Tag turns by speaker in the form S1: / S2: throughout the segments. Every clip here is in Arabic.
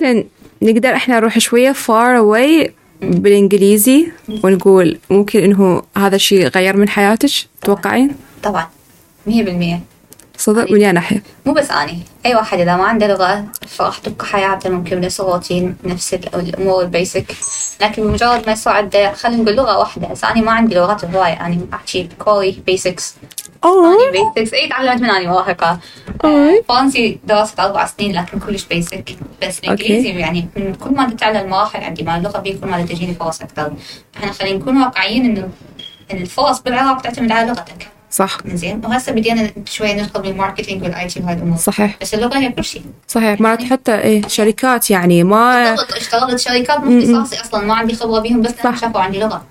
S1: حاسة نقدر احنا نروح شوية far away بالانجليزي ونقول ممكن انه هذا الشيء غير من حياتك تتوقعين
S2: طبعا 100%
S1: صدق من يا ناحية
S2: مو بس أني أي واحد إذا ما عنده لغة فراح تبقى حياته ممكن نفس الروتين نفس ال- الأمور البيسك لكن بمجرد ما يصير عنده خلينا نقول لغة واحدة بس أنا ما عندي لغات هواية أنا أحكي كوري بيسكس
S1: طيب.
S2: أني بيسكس إي إيه، تعلمت من أني مراهقة
S1: أوي.
S2: آه، فرنسي دراسة أربع سنين لكن كلش بيسك بس الإنجليزي يعني من كل ما تتعلم المراحل عندي مع اللغة بي كل ما تجيني فرص أكثر إحنا خلينا نكون واقعيين إنه إن الفرص بالعراق تعتمد على لغتك
S1: صح
S2: زين وهسه بدينا شوي ندخل بالماركتينج والاي تي وهاي الامور
S1: صحيح
S2: بس اللغه هي كل شيء
S1: صحيح مرات حتى ايه شركات يعني ما
S2: اشتغلت اشتغلت شركات مو اختصاصي اصلا ما عندي خبره بيهم بس لأن
S1: صح.
S2: شافوا عندي لغه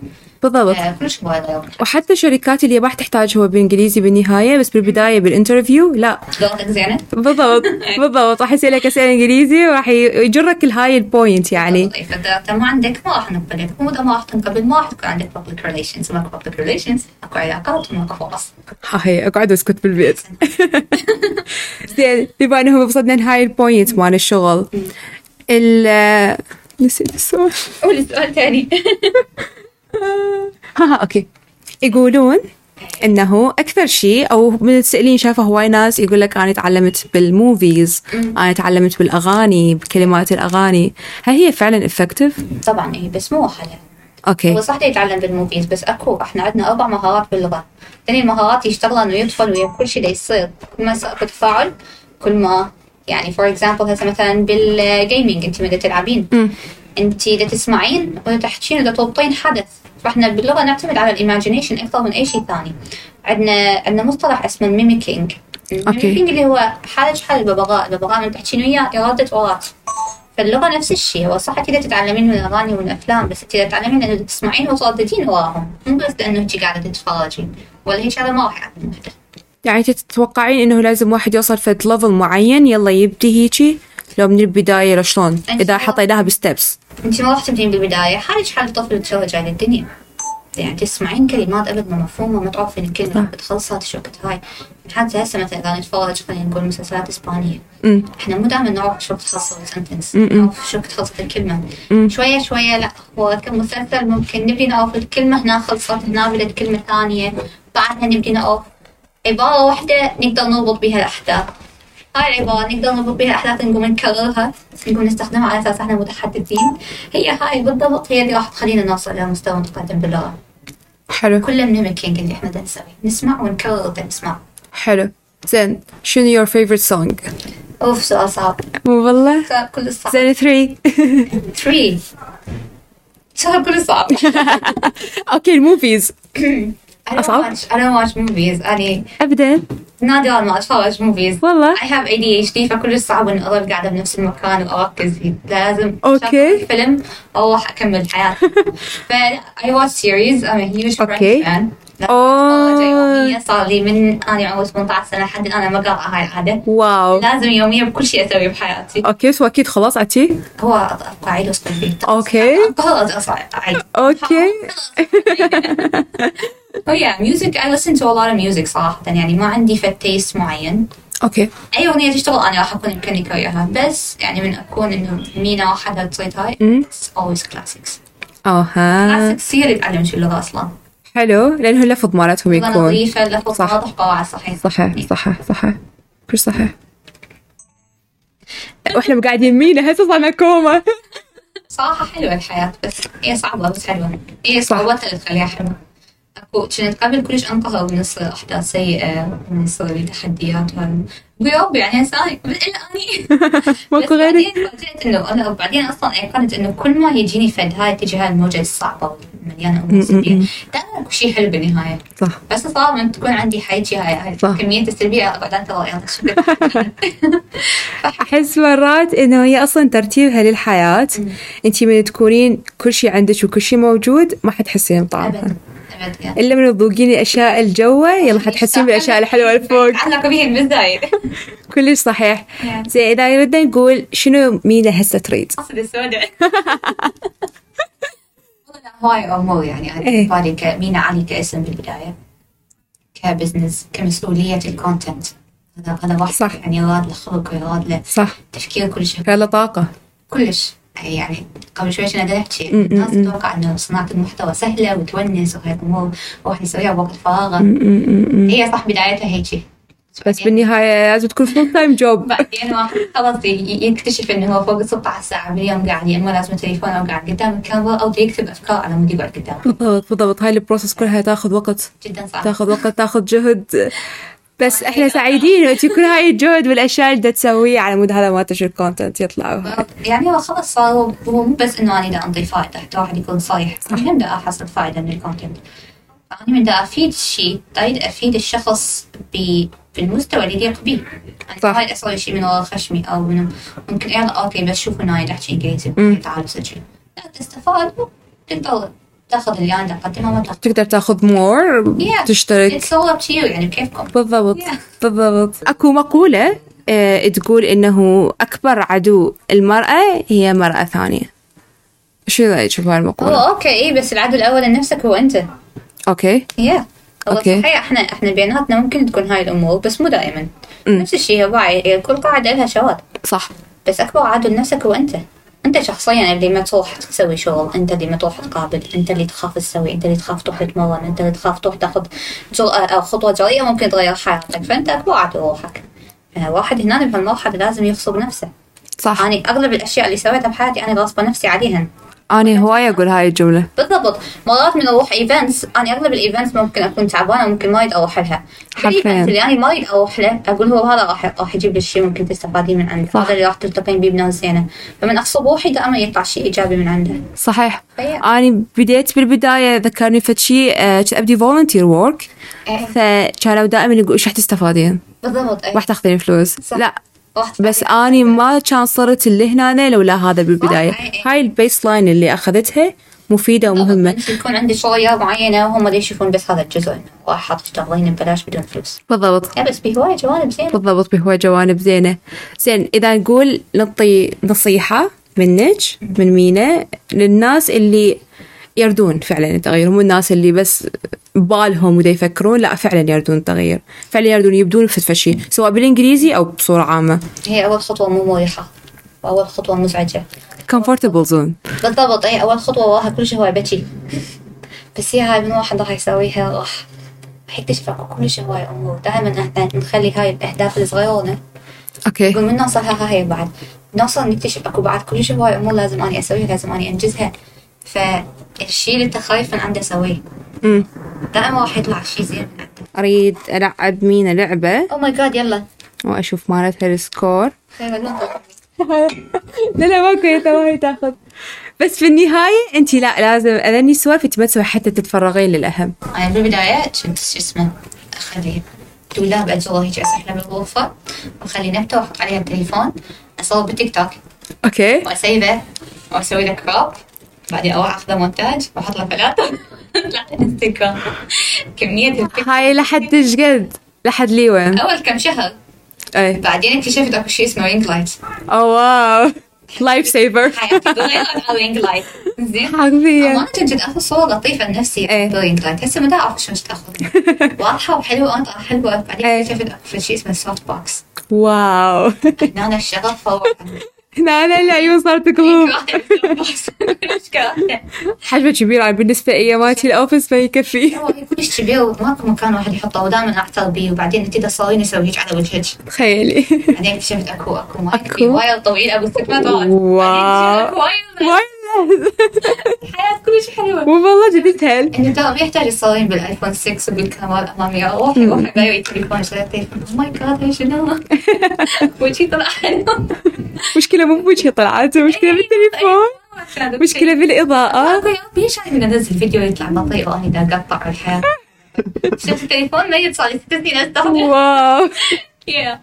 S1: بالضبط
S2: آه، كلش هواي غيروا.
S1: وحتى الشركات اللي ما تحتاج هو بالانجليزي بالنهايه بس بالبدايه بالانترفيو لا
S2: لغتك زينه
S1: بالضبط بالضبط راح يسالك اسئله انجليزي وراح يجرك لهاي البوينت يعني
S2: بالضبط. فاذا أنت ما عندك ما راح نقبلك مو اذا ما راح تنقبل ما راح تكون عندك public relations ماكو public relations اكو علاقات وماكو فرص
S1: ها هي اقعد واسكت بالبيت زين بما انه وصلنا لهاي البوينت مال الشغل ال نسيت السؤال
S2: قولي سؤال ثاني
S1: ها ها اوكي آه، يقولون انه اكثر شيء او من السائلين شافه هواي ناس يقول لك انا تعلمت بالموفيز انا تعلمت بالاغاني بكلمات الاغاني هل هي فعلا افكتيف
S2: طبعا اي بس مو وحدها هو
S1: اوكي
S2: صح يتعلم بالموفيز بس اكو احنا عندنا اربع مهارات باللغه ثاني المهارات يشتغلن ويدخل ويا كل شيء دا يصير كل ما يصير اكو تفاعل كل ما يعني فور اكزامبل هسه مثلا بالجيمنج انت من دا تلعبين انت دا تسمعين ودا تحكين ودا تربطين حدث فاحنا باللغه نعتمد على الايماجينيشن اكثر من اي شيء ثاني عندنا عندنا مصطلح اسمه ميميكينج الميميكينج اللي هو حالة حال الببغاء الببغاء من تحكين وياه يردد ورات فاللغة نفس الشيء هو صح انت تتعلمين من الأغاني والأفلام بس انت تتعلمين لأنه تسمعين وترددين وراهم مو بس لأنه انت قاعدة تتفرجين ولا هي شغلة ما راح يعلمها حدا
S1: يعني انت تتوقعين انه لازم واحد يوصل فد ليفل معين يلا يبدي هيجي لو من البدايه لو شلون اذا حطيناها بستبس
S2: انت ما راح تبدين بالبداية حالك حال طفل متزوج على الدنيا يعني تسمعين كلمات ابد ما مفهومة ما تعرفين الكلمة بتخلصها تشوكت هاي حتى هسه مثلا اذا نتفرج خلينا نقول مسلسلات اسبانية احنا مو دائما نعرف شو بتخلص السنتنس نعرف شو بتخلص الكلمة شوية شوية لا هو كمسلسل ممكن نبدي نعرف الكلمة هنا خلصت هنا بدت كلمة ثانية بعدها نبدي نعرف عبارة واحدة نقدر نربط بها الأحداث هاي العبارة نقدر نربط بها أحداث نقوم نكررها نقوم نستخدمها على أساس احنا متحدثين هي هاي بالضبط هي اللي راح تخلينا نوصل إلى مستوى متقدم باللغة
S1: حلو
S2: كله ميميكينج اللي احنا دا نسويه نسمع ونكرر دا نسمع
S1: حلو زين شنو يور فيفورت سونج
S2: اوف سؤال صعب
S1: مو والله
S2: سؤال كل صعب
S1: زين 3
S2: 3 سؤال كل صعب
S1: اوكي الموفيز أصعب؟
S2: أصعب؟ I don't watch movies يعني، أنا
S1: ابدا
S2: نادرا ما أتفرج موفيز
S1: والله؟
S2: I have ADHD فكلش صعب إني أظل قاعدة بنفس المكان وأركز فيه لازم
S1: أوكي.
S2: أشغل فيلم وأروح أكمل حياتي فأنا I watch series I'm a huge Friends
S1: أوكي.
S2: fan
S1: أوه.
S2: أتفرج يومية صار لي من أنا عمري 18 سنة لحد الآن ما قاطعة هاي العادة
S1: واو
S2: لازم يوميا بكل شيء أسويه بحياتي
S1: اوكي سو اكيد خلاص عتي
S2: هو أبقى أعيد وسط البيت
S1: أوكي.
S2: Oh, أبقى أصعد أعيد
S1: اوكي
S2: Oh yeah, music. I listen to a lot of music صراحة يعني ما عندي فت taste معين.
S1: اوكي
S2: أي أغنية تشتغل أنا راح أكون يمكنني كريها بس يعني من أكون إنه مينا وحدها تصيد هاي it's always classics.
S1: اها
S2: classics هي اللي تعلمت اللغة أصلا.
S1: حلو لانه اللفظ مالتهم
S2: لغة
S1: يكون
S2: نظيفة لفظ
S1: صح.
S2: واضح قواعد صحيح. يعني
S1: صحيح صحيح صحيح كل صحيح واحنا قاعدين مينا هسه صار كوما
S2: صراحة حلوة الحياة بس هي صعبة بس حلوة. هي صعوبتها اللي تخليها حلوة. أكو كنت قبل كلش أنقهر من يصير أحداث سيئة من يصير لي تحديات وهذا. ويوب يعني هسه أنا إلا أني
S1: ماكو
S2: بس
S1: غيري
S2: بعدين فاجأت انه انا بعدين اصلا ايقنت انه كل ما يجيني فد هاي تجي هاي الموجه الصعبه مليانه امور سلبيه دائما اكو شيء حلو بالنهايه
S1: صح
S2: بس صار من تكون عندي حيجي هاي, هاي
S1: صح.
S2: كميه السلبيه اقعد انتظر يلا شو بدك؟
S1: احس مرات انه هي اصلا ترتيبها للحياه انت من تكونين كل شيء عندك وكل شيء موجود ما حتحسين بطعمها
S2: ابدا ابدا يعني.
S1: الا من تذوقين الاشياء الجوة يلا حتحسين بالاشياء الحلوه الفوق
S2: تعلق بيها بالزايد
S1: كلش صحيح
S2: Yeah.
S1: زين اذا بدنا نقول شنو مينا هسه تريد
S2: اقصد السوداء والله هواي امور يعني انا
S1: إيه.
S2: بالنسبه لي كمينا علي كاسم بالبدايه كبزنس كمسؤوليه الكونتنت هذا هذا واحد
S1: صح.
S2: يعني راد له خلق وراد له
S1: صح
S2: تفكير كل شيء
S1: يلا طاقة
S2: كلش يعني قبل شوي كنا دا نحكي الناس تتوقع انه صناعه المحتوى سهله وتونس وهاي الامور واحد يسويها بوقت فراغه هي صح بدايتها هيجي
S1: بس بالنهايه لازم تكون فول تايم جوب
S2: بعدين واحد خلاص ي- ي- يكتشف انه هو فوق 16 ساعه باليوم قاعد يا اما لازم تليفون او قاعد قدام الكاميرا او يكتب افكار على مود يقعد قدامها
S1: بالضبط بالضبط هاي البروسس كلها تاخذ وقت
S2: جدا صعب
S1: تاخذ وقت تاخذ جهد بس احنا سعيدين انه يكون هاي الجهد والاشياء اللي دا تسويها على مود هذا مالتش الكونتنت يطلع وهاي.
S2: يعني هو خلاص صار هو- هو مو بس انه انا دا انطي فائده حتى واحد يكون صايح انا دا احصل فائده من الكونتنت انا من دا افيد شيء اريد افيد الشخص ب بالمستوى اللي يليق به يعني
S1: صح.
S2: صح هاي اسوي شيء من ورا خشمي او من ممكن يلا اوكي بس شوف انه انا دا احكي انجليزي تعال سجل لا تستفاد تقدر تاخذ اللي انا دا اقدمه ما تاخذ
S1: تقدر تاخذ مور تشترك
S2: اتس اول اب تو يو يعني بكيفكم
S1: بالضبط
S2: Yeah.
S1: بالضبط اكو مقوله آه، تقول انه اكبر عدو المراه هي مراه ثانيه شو رايك بهاي
S2: هو
S1: المقوله؟
S2: اوكي اي إيه، بس العدو الاول لنفسك هو انت
S1: اوكي
S2: يا هو
S1: أوكي.
S2: صحيح احنا احنا بيناتنا ممكن تكون هاي الامور بس مو دائما نفس الشيء هو واعي هي كل قاعده لها شواذ
S1: صح
S2: بس اكبر عدو لنفسك هو انت انت شخصيا اللي ما تروح تسوي شغل انت اللي ما تروح تقابل انت اللي تخاف تسوي انت اللي تخاف تروح تتمرن انت اللي تخاف تروح تاخذ آه، جرأة او خطوه جريئه ممكن تغير حياتك فانت اكبر عدو روحك آه، واحد هنا بهالمرحله لازم يغصب نفسه
S1: صح
S2: انا اغلب الاشياء اللي سويتها بحياتي انا غاصبه نفسي عليها
S1: انا هواي اقول هاي الجمله
S2: بالضبط مرات من اروح ايفنتس انا اغلب الايفنتس ممكن اكون تعبانه وممكن ما اريد اروح لها
S1: حرفياً.
S2: الإيفنت اللي انا ما اريد اروح له اقول هو هذا راح راح يجيب لي شيء ممكن تستفادين من عنده
S1: صح.
S2: هذا اللي راح تلتقين بيه بناس زينه فمن اغصب روحي دائما يطلع شيء ايجابي من عنده
S1: صحيح
S2: طيب.
S1: انا بديت بالبدايه ذكرني فد شيء آه، كنت ابدي فولنتير ورك
S2: إيه.
S1: فكانوا دائما يقولوا ايش راح تستفادين؟
S2: بالضبط أي.
S1: راح تاخذين فلوس؟
S2: صح.
S1: لا
S2: راح
S1: بس
S2: تفيدك.
S1: اني ما كان صرت اللي هنا لولا هذا بالبدايه
S2: صح، إي إي.
S1: هاي البيس لاين اللي اخذتها مفيده ومهمه
S2: أنت يكون عندي شغلية معينة وهم اللي يشوفون بس هذا الجزء إنه راح حاط تشتغلين ببلاش بدون فلوس
S1: بالضبط
S2: يا بس بهواية جوانب زينة
S1: بالضبط بهو جوانب زينه زين اذا نقول نعطي نصيحه منك من مينا للناس اللي يردون فعلا التغير مو الناس اللي بس بالهم ودا يفكرون لا فعلا يردون التغير فعلا يردون يبدون في شيء سواء بالانجليزي او بصوره عامه
S2: هي أول خطوة مو مريحة وأول خطوة مزعجة
S1: كومفورتبل زون
S2: بالضبط اي اول خطوه وراها كل شيء هو بكي بس هي هاي من واحد راح يسويها راح راح يكتشف اكو كل شيء هواي امور دائما احنا نخلي هاي الاهداف الصغيره
S1: اوكي
S2: نقول من نوصلها هاي بعد نوصل نكتشف اكو بعد كل شيء هواي امور لازم اني اسويها لازم اني انجزها فالشيء اللي انت خايف من عنده سويه
S1: أمم.
S2: دائما راح يطلع شيء زين من عنده
S1: اريد العب مينا لعبه
S2: او ماي جاد يلا
S1: واشوف مالتها السكور
S2: خير ننطر.
S1: لا لا ماكو هي توهي تاخذ بس بالنهايه انت لا لازم اذني سوالف ما تسوي حتى تتفرغين للاهم
S2: أنا بالبداية كنت شو اسمه أخلي دولاب أجره هيك أسحله بالغرفة وأخلي نبتة وأحط عليها التليفون أصور بالتيك توك
S1: اوكي
S2: وأسيبه وأسوي له كروب بعدين أروح أخذه مونتاج وأحط له فلاتر طلع الانستغرام كمية التيك توك.
S1: هاي لحد ايش قد لحد لي وين
S2: أول كم شهر
S1: اي
S2: بعدين اكتشفت أكو شيء اسمه رينج لايت
S1: أو واو لايف سيفر
S2: حياتي بالغير على رينج لايت زين
S1: حرفيا
S2: أمانة كنت آخذ صور لطيفة لنفسي
S1: إيه.
S2: بالرينج لايت هسه ما دا أعرف شلون آخذ واضحة وحلوة وأنطرة حلوة بعدين
S1: إيه.
S2: اكتشفت أكو شيء اسمه سوفت بوكس
S1: واو
S2: هنا الشغف فوق
S1: هنا انا العيون صارت قلوب
S2: أيوة.
S1: حجمه كبير أنا بالنسبه لي مالتي الاوفيس ما يكفي
S2: هو كلش كبير وماكو مكان واحد يحطه ودائما اعتر بيه وبعدين انت تصورين يسوي هيك على وجهك
S1: تخيلي
S2: بعدين اكتشفت اكو اكو ما
S1: أكو.
S2: في واير طويل ابو ست مرات
S1: واو.
S2: واير
S1: وايد.
S2: الحياه كلش حلوه
S1: والله جد تسهل
S2: انه ترى ما يحتاج يصورين بالايفون 6 وبالكاميرا الاماميه روحي روحي غيري التليفون شريت تليفون او ماي جاد هاي شنو وجهي طلع حلو
S1: مشكله مو بوجهي طلعت مشكله
S2: أيوة.
S1: بالتليفون مشكله بالاضاءه
S2: اقول آه، يا ربي ليش انا من انزل فيديو يطلع طيب، بطيء واني دا اقطع الحياه شفت التليفون ميت صار لي ست سنين استخدمه
S1: واو
S2: يا.